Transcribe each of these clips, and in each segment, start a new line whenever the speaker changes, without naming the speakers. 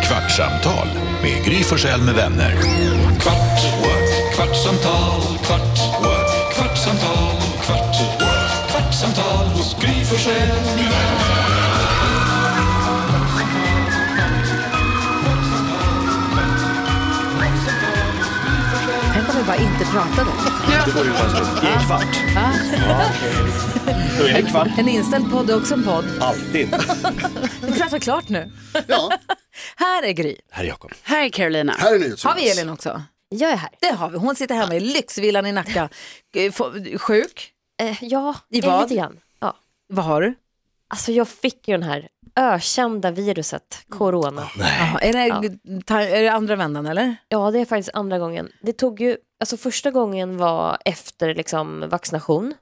Kvartsamtal med Gry Forssell med vänner. Kvart, what? kvartsamtal, kvart, what? kvartsamtal, kvart, what? kvartsamtal hos Gry Forssell med vänner.
Tänk om vi bara inte pratade.
I en kvart. Ja. I en kvart,
En inställd podd är också en podd.
alltid.
Vi pratar klart nu.
Ja,
Här är Gry.
Herr Jakob.
Här är Carolina.
här är nyhetsjonas.
Har vi Elin också?
Jag är här.
Det har vi. Hon sitter hemma i lyxvillan i Nacka. Eh, få- Sjuk.
Eh, ja,
I
eh,
vad?
lite grann. Ja.
Vad har du?
Alltså jag fick ju den här ökända viruset, corona.
Jaha, Är, det, ta, är det andra vändan eller?
Ja, det är faktiskt andra gången. Det tog ju, alltså första gången var efter liksom vaccination.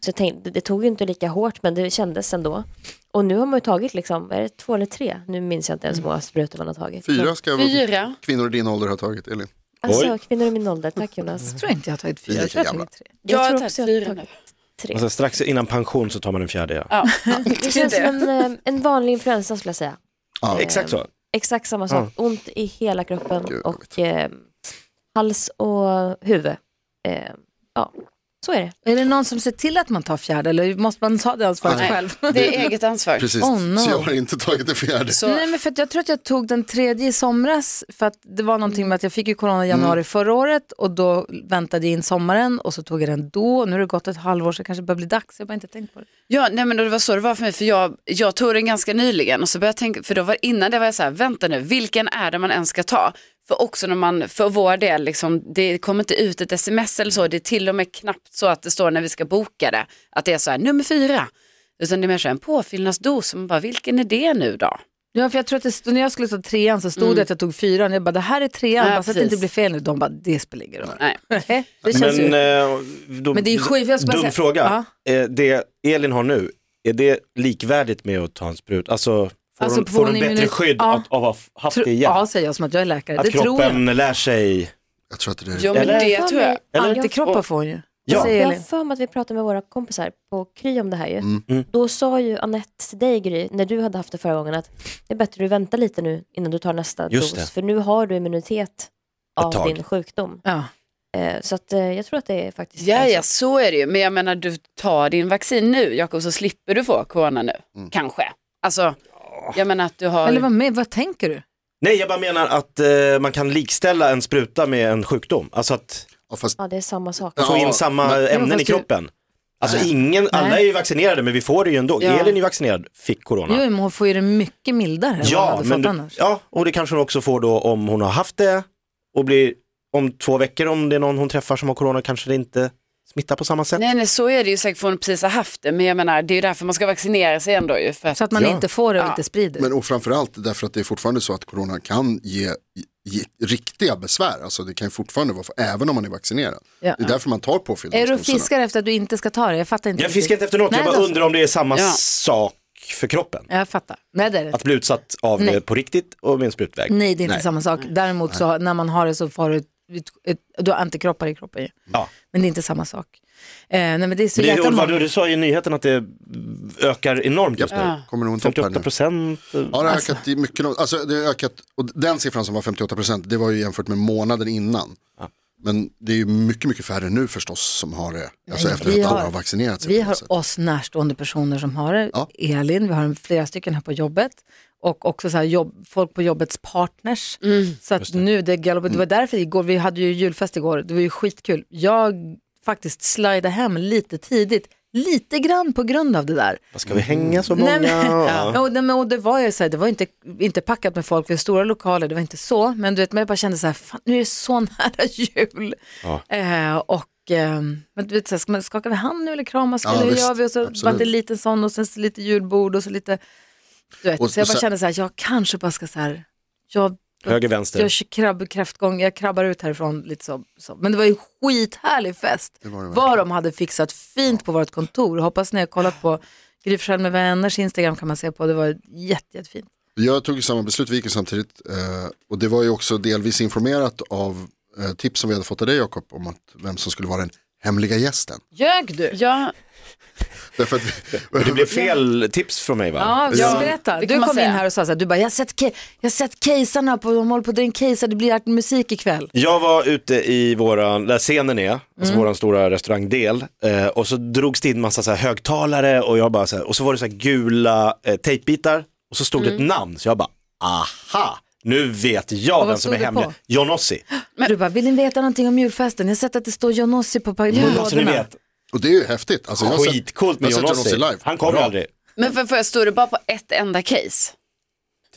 Så jag tänkte, det tog ju inte lika hårt men det kändes ändå. Och nu har man ju tagit liksom, är det två eller tre? Nu minns jag inte ens hur många sprutor man har tagit.
Fyra ska väl
Fyra.
kvinnor i din ålder ha tagit, Elin.
Alltså
Oj.
kvinnor i min ålder, tack Jonas.
Jag tror inte jag har tagit fyra.
Fyra,
Jag tror jag har
jävlar.
tagit tre.
Jag,
tror
har
också
tagit
jag har
fyra nu.
Och sen strax innan pension så tar man den fjärde. Ja.
Ja.
Det känns som en, eh, en vanlig influensa skulle jag säga.
Ja.
Exakt så.
Exakt samma sak. Ont i hela kroppen
Gud, vad
och eh, hals och huvud. Eh, ja, så är det.
Är det någon som ser till att man tar fjärde eller måste man ta det ansvaret
Nej.
själv?
Det är eget ansvar.
Precis,
Oh, no.
så jag har inte tagit det fjärde.
Så,
Nej, men för att jag tror att jag tog den tredje i somras för att det var någonting
Mm.
med att jag fick ju corona i januari förra året och då väntade jag in sommaren och så tog jag den då. Nu har det gått ett halvår så det kanske börjar bli dags. Jag har bara inte tänkt på det.
ja, nej, men det var så det var för mig, för jag, jag tog den ganska nyligen och så började jag tänka, för då var, innan det var jag så här, vänta nu, vilken är det man ens ska ta? För också när man, för vår del, liksom, det kommer inte ut ett sms eller så, det är till och med knappt så att det står när vi ska boka det, att det är så här, nummer fyra. Utan det är mer så här, en påfyllnadsdos, och man bara, vilken är det nu då?
Ja, för jag tror att det stod, när jag skulle ta trean så stod
Mm.
det att jag tog fyran. Jag bara, det här är trean,
Ja,
bara så att det
precis.
inte blir fel nu. De bara, det spelar ingen roll.
Nej.
det känns
Men,
ju...
eh, då,
Men det är ju skit, jag ska bara
Dum
säga-
fråga. Eh, Det Elin har nu, är det likvärdigt med att ta en sprut? Alltså, får
Alltså,
hon,
får
får hon
hon
bättre
immunitet-
skydd
Ja.
att, av att ha haft
Tro,
det igen?
ja, säger jag som att jag är läkare.
att
det tror jag.
kroppen lär sig?
Jag tror att det är
Jo, men
Eller?
det tror jag.
Eller?
Antikroppar får hon ju.
Ja.
Vad säger
Jag har
Elin?
för mig att vi pratade med våra kompisar på Kry om det här ju.
Mm.
Då sa ju Anette till dig Gry, när du hade haft det förra gången, att det är bättre du väntar lite nu innan du tar nästa
Just
dos.
det.
För nu har du immunitet av
tag.
din sjukdom.
Ja.
Eh, så att, eh, jag tror att det är faktiskt
Ja,
är så.
ja, så är det ju. Men jag menar, du tar din vaccin nu, Jakob, så slipper du få corona nu. Kanske. Alltså, jag menar att du har...
Eller vad, med, vad tänker du?
Nej, jag bara menar att eh, man kan likställa en spruta med en sjukdom. Alltså att
Ja, fast
ja, det är samma sak.
Ja.
få in samma ämnen
fast
i
du-
kroppen. Alltså ingen, alla är ju vaccinerade men vi får det ju ändå.
Ja.
Elin är ju vaccinerad, fick corona.
Jo, men hon får ju det mycket mildare än vad hon
Ja,
hade
men
fått
du,
annars.
ja, och det kanske hon också får då om hon har haft det och blir om två veckor om det är någon hon träffar som har corona kanske det inte smittar på samma sätt.
Nej, nej, så är det ju säkert för hon precis har haft det. Men jag menar, det är ju därför man ska vaccinera sig ändå ju. För att...
Så att man
Ja.
inte får det och inte sprider.
Men och framförallt därför att det är fortfarande så att corona kan ge, ge riktiga besvär. Alltså det kan ju fortfarande vara, även om man är vaccinerad.
Ja.
Det är därför man
Är
tar
du och
påfyllnadsdoserna.
fiskar efter att du inte ska ta det? Jag fattar inte.
Jag
riktigt.
fiskar inte efter något,
Nej, alltså-
jag bara
då-
undrar om det är samma
Ja.
sak för kroppen.
Jag fattar. Nej, det är det. inte.
Att bli utsatt av
Nej.
det på riktigt och med en sprutväg.
Nej, det är inte samma sak. Däremot så när man har det så får du, ett, ett, du har antikroppar i kroppen ju.
Ja.
Men det är inte samma sak. Eh, nej, men det är så
Det,
jäkla
Ulva, du,
många.
du sa ju i nyheten att det ökar enormt just nu.
Ja.
Kommer nog en topp här
58
nu.
procent. eh.
Ja, det har ökat i mycket. Alltså det har ökat, och den siffran som var 58 procent, det var ju jämfört med månaden innan. Men det är ju mycket, mycket färre nu förstås som har det. Alltså
Nej,
efter
vi
att alla
har-
har vaccinerat sig.
Vi
på det
har
sättet.
oss närstående personer som har det.
Ja.
Elin, vi har flera stycken här på jobbet. Och också så här jobb, folk på jobbets partners. Så att nu, det, galopper- det var därför igår, vi hade ju julfest igår, det var ju skitkul. Jag faktiskt slide hem lite tidigt, lite grann på grund av det där.
Vad Ska vi hänga så många?
Nej, men,
Ja.
ja. och, nej, men, och det var ju så här, det var inte, inte packat med folk, vi har stora lokaler, det var inte så. Men du vet, man bara kände så här, fan, nu är det så nära jul. Eh, och, eh, men du vet, så här, ska man skaka vi hand nu eller kramas
Ja,
eller hur
visst,
gör vi? Och så var
absolut.
det en liten sån och sen så lite julbord och så lite, du vet.
Och-
så jag
och
bara
sen-
kände så här, jag kanske bara ska så här, jag,
Höger, vänster.
jag kör krabb, kräftgång, jag krabbar ut härifrån lite så. så. Men det var ju en skithärlig fest.
Det var det
vad de hade fixat fint på vårt kontor. Hoppas ni har kollat på Gry Forssell med vänners Instagram kan man se på. Det var jätte, jättefint.
Jag tog ju samma beslut, vi gick ju samtidigt. Eh, och det var ju också delvis informerat av eh, tips som vi hade fått av dig Jakob om att vem som skulle vara den hemliga gästen.
Ljög du?
Ja,
Därför att vi,
Det blev fel tips från mig va?
Ja,
Ja.
jag berätta.
Det
Du
kan man
kom in
säga.
här och sa så här, du bara, jag har sett, ke- jag har sett kejsarna, på, de håller på att dra in kejsar, det blir art- musik ikväll.
Jag var ute i våran, där scenen är, alltså
Mm.
våran stora restaurangdel eh, och så drogs det in massa så här högtalare och jag bara så här, och så var det så här gula eh, tejpbitar och så stod det ett namn så jag bara aha, nu vet jag
Mm. vad
vem som är
stod det
hemlig,
på?
Johnossi.
Men, du bara, vill ni veta någonting om julfesten? Jag har sett att det står Johnossi på, på
Alltså ni
lådorna.
vet,
och det är ju häftigt. Alltså, jag har sett-
skitcoolt med
jag har sett
Johnossi.
Jonas live.
Han kommer
Bra.
aldrig.
men för, för jag stod det bara på ett enda case?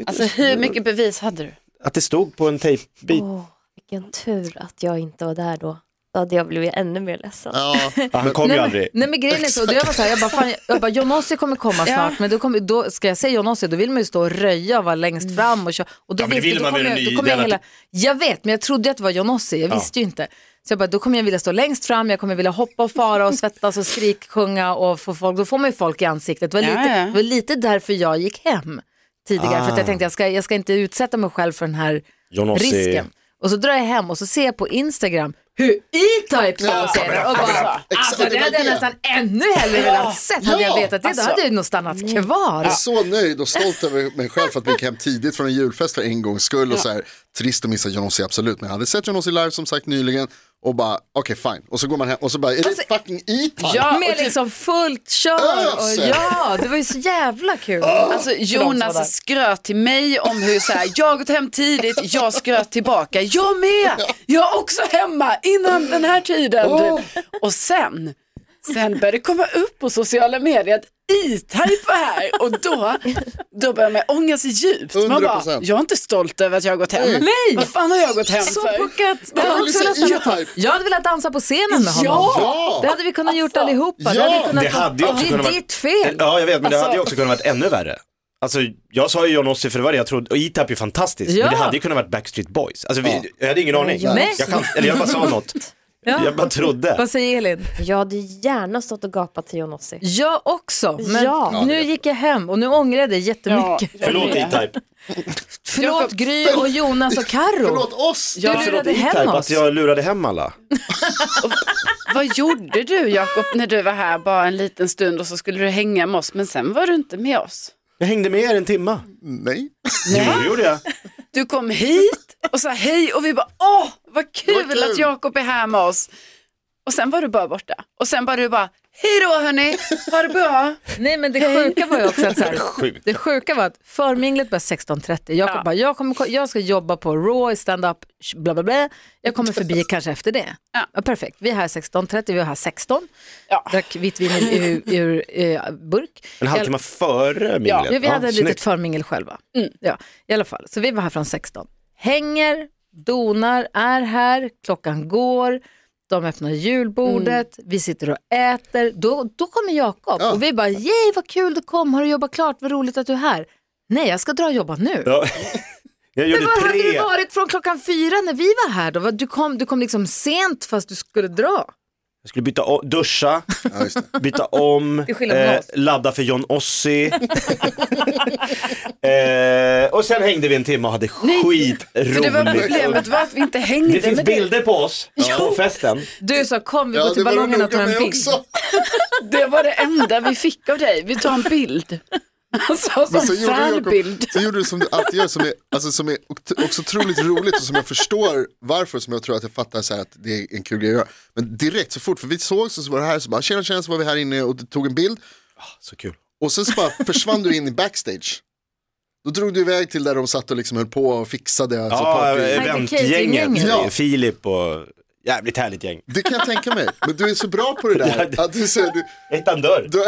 Alltså hur mycket bevis hade du?
Att det stod på en tejpbit.
Åh, vilken tur att jag inte var där då. Då hade jag blivit ännu mer ledsen.
Ja,
Han kommer ju
Nej men,
aldrig.
nej men grejen är så, då jag var så här, jag bara, fan, jag- jag bara Johnossi kommer komma snart, men då, kommer, då ska jag säga Johnossi, då vill man ju stå och röja och vara
Mm.
längst fram och köra. Och då
Ja, men
vet-
vill
då
man
kommer
väl
jag-
en
då
ny
kommer jag
del
hela-
att-
Jag vet, men jag trodde att det var Johnossi, jag visste ju inte. Så jag bara, då kommer jag vilja stå längst fram, jag kommer vilja hoppa och fara och svettas och skriksjunga och få folk, då får man ju folk i ansiktet. Det var
Ja,
lite,
ja.
Det var lite därför jag gick hem tidigare,
Ah.
för att jag tänkte jag ska, jag ska inte utsätta mig själv för den här
Johnossi.
risken. Och så drar jag hem och så ser jag på Instagram hur E-Type sponsrar och bara, alltså
Exakt,
det hade
det
jag
var det.
nästan ännu hellre velat sett hade jag
Ja,
vetat det, då hade jag nog stannat kvar.
Jag är så nöjd och stolt över mig själv för att vi gick hem tidigt från en julfest för en gångs skull. Och så här, trist att missa Johnossi, absolut. Men jag hade sett Johnossi live som sagt nyligen och bara, okej fine. Och så går man hem och så bara, är det fucking E-Type?
Ja, och
Med
typ-
liksom fullt kör och
Öser.
ja, det var ju så jävla kul.
Alltså
var där.
Jonas skröt till mig om hur så här, jag har gått hem tidigt, jag skröt tillbaka, jag med, jag är också hemma innan den här tiden.
Åh.
Typ. Och sen, sen började det komma upp på sociala medier att E-Type var här och då, då började man ångra sig djupt. Man bara,
100%.
jag är inte stolt över att jag har gått hem.
Nej.
Vad fan har jag gått hem
Så
för?
puckat. Jag hade, också
Liksom
velat dansa.
E-Type.
jag hade velat dansa på scenen med honom.
Ja!
Det hade vi kunnat gjort allihopa.
ja,
det hade, vi kunnat
det hade ju också
det är
kunnat vara-
ditt fel. Alltså-
Ja jag vet men det hade ju också kunnat varit ännu värre. Alltså jag sa ju Johnossi för det var det jag trodde, och E E-Type är ju fantastiskt,
Ja.
men det hade ju kunnat varit Backstreet Boys. Alltså vi,
Ja.
jag hade ingen aning.
Nej.
Jag kan, eller jag bara sa något.
Ja.
Jag bara trodde.
Vad säger Elin?
Jag hade gärna stått och gapat till Johnossi.
Jag också, men
Ja. Ja,
nu gick jag hem och nu ångrar jag det jättemycket.
Ja.
Förlåt E E-Type.
Förlåt Gry och Jonas och Carro.
Förlåt oss!
Du lurade hem
E-Type,
oss.
att jag lurade hem alla.
Vad gjorde du Jakob när du var här bara en liten stund och så skulle du hänga med oss men sen var du inte med oss?
Jag hängde med er en timma.
Nej.
Jo, det gjorde jag.
Du kom hit och sa hej och vi bara åh vad kul,
Vad kul.
att Jakob är här med oss. Och sen var du bara borta och sen bara du bara hej då hörni, ha det bra.
Nej men det sjuka var ju också att så här,
Sjukt.
det sjuka var att förminglet började 16.30. Jakob
Ja.
bara, jag, kommer, jag ska jobba på Raw, stand-up, sh- bla bla bla. Jag kommer förbi kanske efter det.
Ja.
perfekt, vi är här 16.30, vi var här 16.
Ja.
Drack vitt vin ur, ur, ur eh, burk.
En halvtimme före minglet.
Ja,
Ja, vi hade ett litet
snyggt.
förmingel själva. Ja, I alla fall, så vi var här från 16. Hänger, donar, är här, klockan går, de öppnar julbordet, vi sitter och äter. Då, då kommer Jakob
Ja.
och vi bara, yay vad kul du kom, har du jobbat klart, vad roligt att du är här. Nej, jag ska dra och jobba nu.
Ja. Jag gjorde
Men var hade du
tre.
varit från klockan fyra när vi var här då? Vad- Du kom, du kom liksom sent fast du skulle dra.
Jag skulle byta o- duscha,
Ja, just det.
byta om, eh,
Till skillnad från oss.
ladda för John Ossi. eh, och sen hängde vi en timme och hade
För det var
skitroligt.
problemet var att vi inte hängde
Det finns
med dig.
bilder på oss på festen.
Du sa kom vi går
Ja,
till
det var du
ballongen och tar
noga
en
med
bild.
också.
Det var det enda vi fick av dig, vi tar en bild. Alltså
Men så
som
gjorde, Jakob,
fanbild.
så gjorde du som du alltid gör som är, alltså, som är okt- också otroligt roligt och som jag förstår varför som jag tror att jag fattar så här att det är en kul grej att göra. Men direkt så fort, för vi såg så, så var det här så bara tjena tjena så var vi här inne och tog en bild
Så kul.
och sen så bara försvann du in i backstage. Då drog du iväg till där de satt och liksom höll på och fixade. Alltså,
Ja, eh,
party.
eventgänget.
Ja.
Filip och jävligt härligt gäng.
Det kan jag tänka mig. Men du är så bra på det där. Att du, så, du,
Ettan dörr.
du,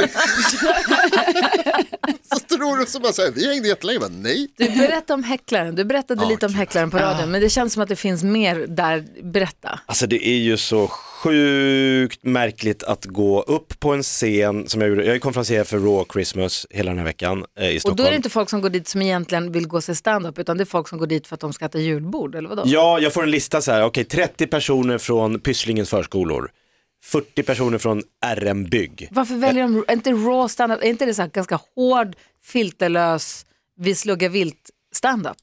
så tror du så bara så här, vi hängde jättelänge. Jag Bara, nej.
Du berättade om häcklaren, du berättade lite om häcklaren på radion, men det känns som att det finns mer där, berätta.
Alltså det är ju så sjukt märkligt att gå upp på en scen som jag gjorde. Jag är konferencier för Raw Christmas hela den här veckan eh, i Stockholm.
Och då är det inte folk som går dit som egentligen vill gå och se stand-up, utan det är folk som går dit för att de ska äta julbord, eller vadå?
Ja, jag får en lista så här, okej 30 personer från Pysslingens förskolor, 40 personer från RM Bygg.
Varför väljer de, är inte raw stand-up, är inte det så här ganska hård, filterlös, vi sluggar vilt stand-up?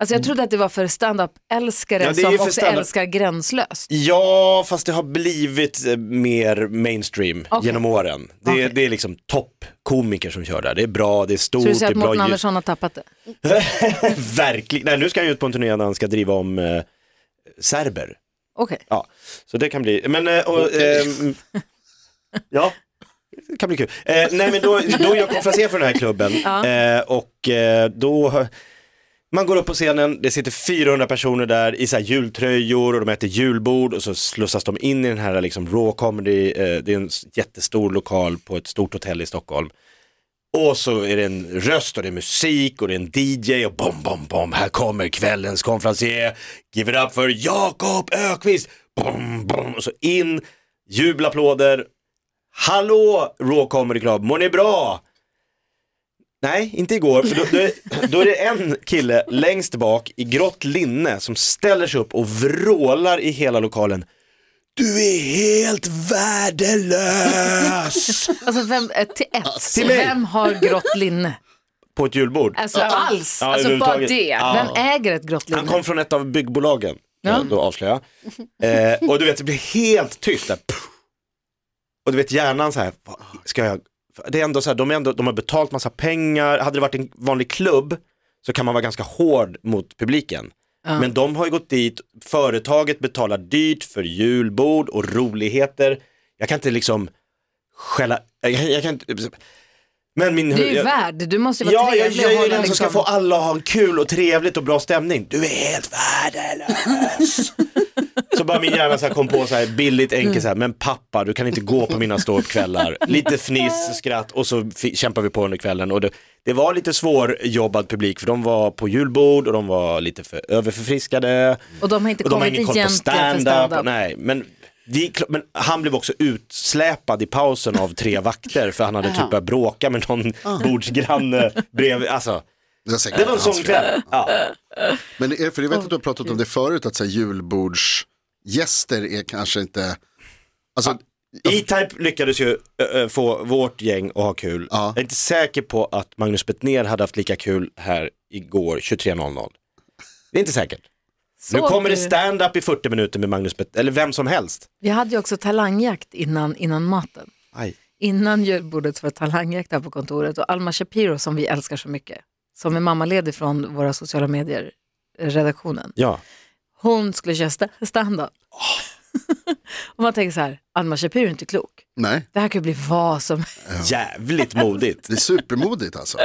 Alltså jag trodde att det var för stand-up-älskare
Ja, det är
som
ju för
också
stand-up.
älskar gränslöst.
Ja, fast det har blivit eh, mer mainstream
Okej.
genom åren. Det, är-
Okej.
det är liksom toppkomiker som kör där. Det är bra, det är stort,
Så du
det
säger
är
att
bra
Mårten
ljud.
Andersson har tappat det?
Verkligen. Nej, nu ska han ut på en turné där han ska driva om eh, serber.
Okej.
Ja, så det kan bli, men, eh, och, ehm, ja, det kan bli kul. Eh, nej men då, då är jag konferencier för den här klubben eh, och eh, då, man går upp på scenen, det sitter 400 personer där i så här jultröjor och de äter julbord och så slussas de in i den här liksom raw comedy, eh, det är en s- jättestor lokal på ett stort hotell i Stockholm. Och så är det en röst och det är musik och det är en DJ och bom, bom, bom, här kommer kvällens konferencier. Give it up för Jakob Ökvist. Bom, bom, och så in, jubelapplåder. Hallå Raw Comedy Club, mår ni bra? Nej, inte igår, för då, då, är- då är det en kille längst bak i grått linne som ställer sig upp och vrålar i hela lokalen. Du är helt värdelös!
Alltså vem, eh, till ett,
Till mig.
vem har grått linne?
På ett julbord.
Alltså alls.
Ja,
Alltså, bara
överhuvudtaget.
det.
Ja.
Vem äger ett grått
Han
linne?
kom från ett av byggbolagen, ja. då avslöjar jag. Eh, och du vet, det blir helt tyst där. Puff. Och du vet hjärnan så här, vad ska jag, det är ändå så här, de, är ändå, de har betalt massa pengar, hade det varit en vanlig klubb så kan man vara ganska hård mot publiken. Men de har ju gått dit, företaget betalar dyrt för julbord och roligheter. Jag kan inte liksom skälla, jag, jag kan inte, men min...
Du är ju
jag-
värd, du måste ju vara
Ja, jag,
trevlig
jag
och
är
hålla
den som ska
liksom.
få alla att ha en kul och trevligt och bra stämning. Du är helt värdelös. så bara min hjärna så här kom på så här billigt enkelt så här, men pappa du kan inte gå på mina ståuppkvällar. Lite fniss, skratt och så fi- kämpar vi på under kvällen. Och det, det var lite svårjobbad publik för de var på julbord och de var lite för överförfriskade.
Och de har inte
Och de har
kommit
ingen koll på
egentligen för
stand-up.
stand-up.
Nej, men, det är klart- men han blev också utsläpad i pausen av tre vakter för han hade typ börjat bråka med någon bordsgranne bredvid. Alltså,
Det var, säkert
det var en
hans fel.
sån kväll. Ja.
Men är, för jag vet att du har pratat om det förut, att så här, julbordsgäster är kanske inte, alltså,
E-Type lyckades ju ö, ö, få vårt gäng att ha kul.
Ja.
Jag är inte säker på att Magnus Bettner hade haft lika kul här igår 23.00. Det är inte säkert. nu
Såg
kommer det
du?
stand-up i 40 minuter med Magnus Bettner, eller vem som helst.
Vi hade ju också talangjakt innan, innan maten.
Aj.
Innan julbordet var det talangjakt här på kontoret och Alma Shapiro som vi älskar så mycket, som är mammaledig från våra sociala medier, eh, redaktionen.
Ja.
Hon skulle köra sta- stand-up. och man tänker så här, Alma Shapiro är inte klok.
nej,
Det här kan ju bli vad som
Jävligt modigt.
det är supermodigt alltså.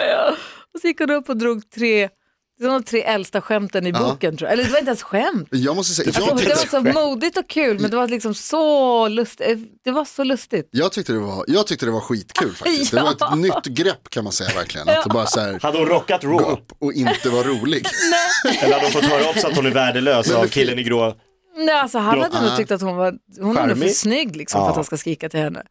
Och så gick hon upp och drog tre, det var de tre äldsta skämten i boken tror jag. Eller det var inte ens skämt.
Jag måste säga,
Alltså,
jag
det
tyckte,
var så modigt och kul men det var liksom så lustigt. Det var så lustigt.
jag, tyckte det var, jag tyckte det var skitkul faktiskt. Det var ett nytt grepp kan man säga verkligen. Att det bara så här,
Hade hon rockat
gå
Raw?
upp och inte vara rolig.
Eller hade hon fått höra också att hon är värdelös av killen i grå?
Nej, alltså, han
Ja.
hade nog tyckt att hon var hon är nog för
Charmig.
snygg liksom, för
Ja.
att han ska skrika till henne.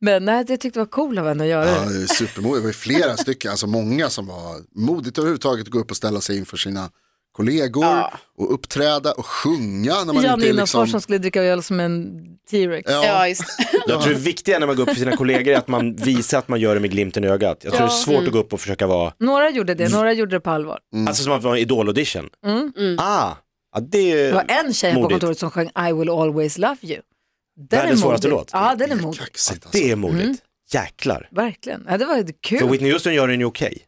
Men nej, jag tyckte det var cool av henne att göra
Ja,
det.
det är supermodigt. Det var ju flera stycken, alltså många som var modigt överhuvudtaget att gå upp och ställa sig inför sina kollegor och uppträda och sjunga när man
Jan
inte är
Innanfors
liksom...
som skulle dricka öl som en T-rex.
Ja,
Ja, just det.
Jag tror det viktiga när man går upp för sina kollegor är att man visar att man gör det med glimten i ögat. Jag tror det är svårt
Mm.
att gå upp och försöka vara,
Några gjorde
Mm.
det, några gjorde det på allvar. Mm.
alltså som att vara en idol-audition. Ah, ja, det
Det var
är
en tjej här på
Modigt.
kontoret som sjöng I will always love you. Den
Världens svåraste
modig.
låt.
Ja, den är modig.
kaxigt alltså.
det är modigt.
Mm.
Jäklar.
Verkligen. Ja, det var kul.
För Whitney Houston gör den ju okej.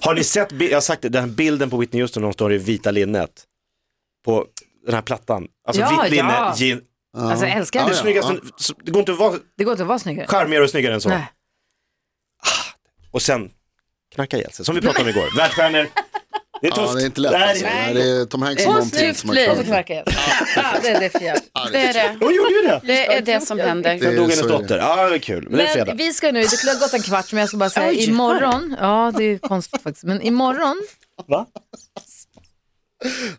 Har ni sett, bi- jag har sagt det, den här bilden på Whitney Houston när hon står i vita linnet. På den här plattan. Alltså
Ja,
vitt linne,
ja.
jean.
Alltså jag älskar
Ja,
Det, är
henne.
ja.
snyggast, det går inte att vara
Det går inte att vara snyggare.
charmigare och snyggare än så.
Nej.
och sen knacka ihjäl sig, som vi pratade om igår. Världsstjärnor. Det är tufft.
Ja, det är inte lätt alltså. Nej, Det är Tom Hanks och
Och
någonting
snyggt
som har
liv.
Och så
klarat det.
knarkar jag. Ja, det är det för jävligt.
det är det.
Hon gjorde ju det!
Det är det som händer.
Sen dog
så
hennes
är det.
dotter. Ja, det är kul. Men det är fredag.
Men vi ska nu, det skulle ha gått en kvart men jag ska bara säga imorgon, ja det är konstigt faktiskt, men imorgon
Va?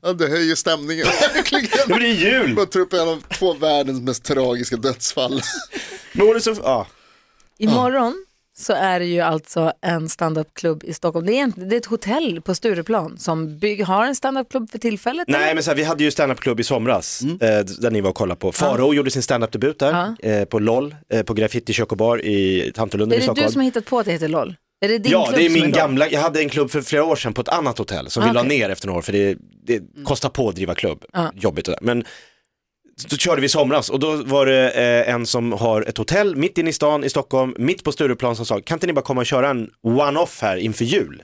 Ja, det höjer stämningen verkligen.
Men det är jul!
Man tar upp en av två världens mest tragiska dödsfall.
Men hon är så... Ja.
Imorgon så är det ju alltså en standupklubb i Stockholm. Det är, egentligen- det är ett hotell på Stureplan som bygg, har en standupklubb för tillfället.
Nej, men så här, vi hade ju standupklubb i somras,
Mm.
eh, där ni var och kollade på. Faro gjorde sin standupdebut där, eh, på LOL, eh, på Graffiti Kök och Bar i Tantolunden
är
i
det
Stockholm.
du som har hittat på att det heter LOL? Är Ah, det din
Ja,
klubb
det är
som
min
igång?
gamla, jag hade en klubb för flera år sedan på ett annat hotell som vi la ner efter några år för det, det
Mm.
kostar på att driva klubb,
Ah.
jobbigt och där. Men då körde vi i somras och då var det eh, en som har ett hotell mitt inne i stan i Stockholm, mitt på Stureplan som sa, kan inte ni bara komma och köra en one-off här inför jul?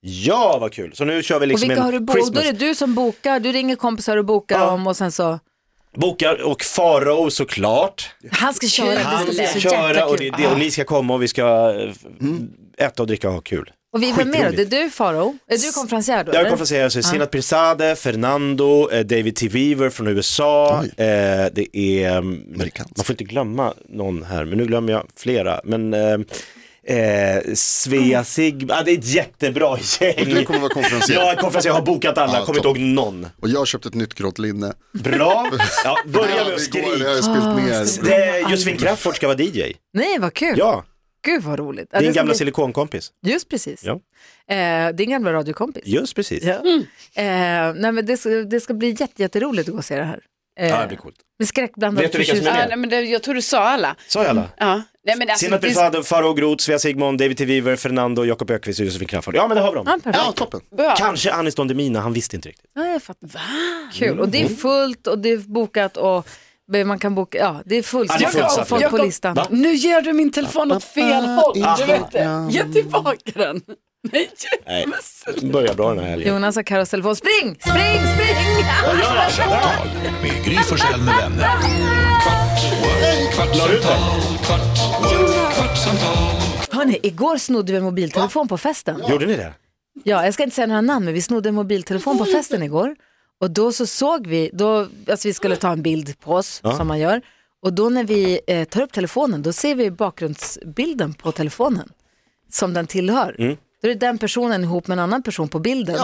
Ja, vad kul! Så nu kör vi
Och
liksom
vilka har du
en
bokat? Då
Christmas.
är det du som bokar, du ringer kompisar och bokar
Ja.
dem och sen så.
Bokar och Farao såklart.
Han ska köra, det
Han
ska bli
ska
så Ah.
köra och, det,
jättekul.
det, och ni ska komma och vi ska eh, äta och dricka och ha kul.
Och vi var med då,
Skitroligt.
det är du Faro. Är du konferensier då?
Jag
eller?
kommer från säga så Sinat Pirzadeh, Fernando, eh, David T. Weaver från USA.
Oj.
Eh, det är, mm,
Amerikansk.
man får inte glömma någon här, men nu glömmer jag flera. Men eh, eh,
Mm.
Svea Sig, ah, det är ett jättebra
Du
gäng.
kommer vara
Ja,
konferencier.
konferens, jag har bokat alla,
Ja,
kommer inte
topp.
ihåg någon.
Och jag har köpt ett nytt grått linne.
Bra, ja, börja
Ja,
med
det
att
går, det har
skrika.
jag spilt ner.
Det är Josefin Crafoord ska vara DJ.
Nej vad kul,
Ja,
gud vad roligt. Ja, det
din
ska
gamla
bli...
silikonkompis.
Just precis.
Ja.
Eh, din gamla radiokompis.
Just precis.
Ja. Eh, nej, men det, ska, det ska bli jätte, jätteroligt att gå och se det här. Eh,
Ja, det blir coolt.
Med skräckblandad
Vet du vilka som är
förtjusning.
Ja,
med?
nej, men det, jag tror du sa alla.
Sa jag alla?
Ja. Nej, men alltså,
Sinat
det-
Pirzadeh, Farao Groth, Svea Sigmund, David T. Weaver, Fernando, Jakob Ökvist och Josefin Crafoord. Ja men det har vi dem.
Ja, perfekt.
Ja, toppen.
bra.
Kanske Anis Don Demina, han visste inte riktigt.
Ja, jag fattar.
Mm.
Kul, och det är fullt och det är bokat och man kan boka, ja det är
Ja, det är
fullsatt
fullsatt.
och folk på
Jakob,
listan.
Va?
Nu ger du min telefon åt fel håll. Du vet det. Ge tillbaka den. Nej,
Nej, börjar bra den här helgen.
Jonas har Carros telefon, spring, spring, spring!
Kvartsamtal med Gry Forssell med vänner. Kvart, what? kvartsamtal, kvart, what? kvartsamtal,
Hörni, igår snodde vi en mobiltelefon på festen.
Gjorde ni det?
Ja, jag ska inte säga några namn, men vi snodde en mobiltelefon på festen igår. Och då så såg vi, då, alltså vi skulle ta en bild på oss som man gör. Och då när vi eh, tar upp telefonen, då ser vi bakgrundsbilden på telefonen som den tillhör.
Mm.
Då är det den personen ihop med en annan person på bilden.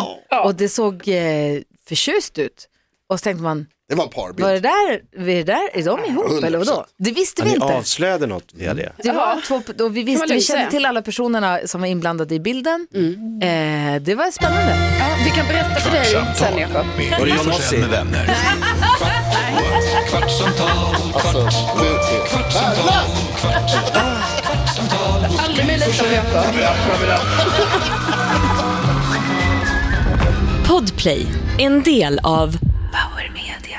Och det såg eh, förtjust ut. Och så tänkte man,
Det var en
var det
parbild.
där, är, det där, är de ihop eller vadå?
100%.
Det visste
Ja,
vi
Ni
inte.
avslöjade något via det.
Det var två, och vi, visste,
man
vi kände
lugnt säga.
till alla personerna som var inblandade i bilden.
Mm.
Eh, det var spännande.
Ja, vi kan berätta för dig sen, Jakob.
kvartsamtal med Gry Forssell med vänner. Kvart, what? kvartsamtal, kvart, what? kvartsamtal, kvart, what? kvartsamtal, hos
Aldrig mer lita på Jakob.
Podplay, en del av Power Media.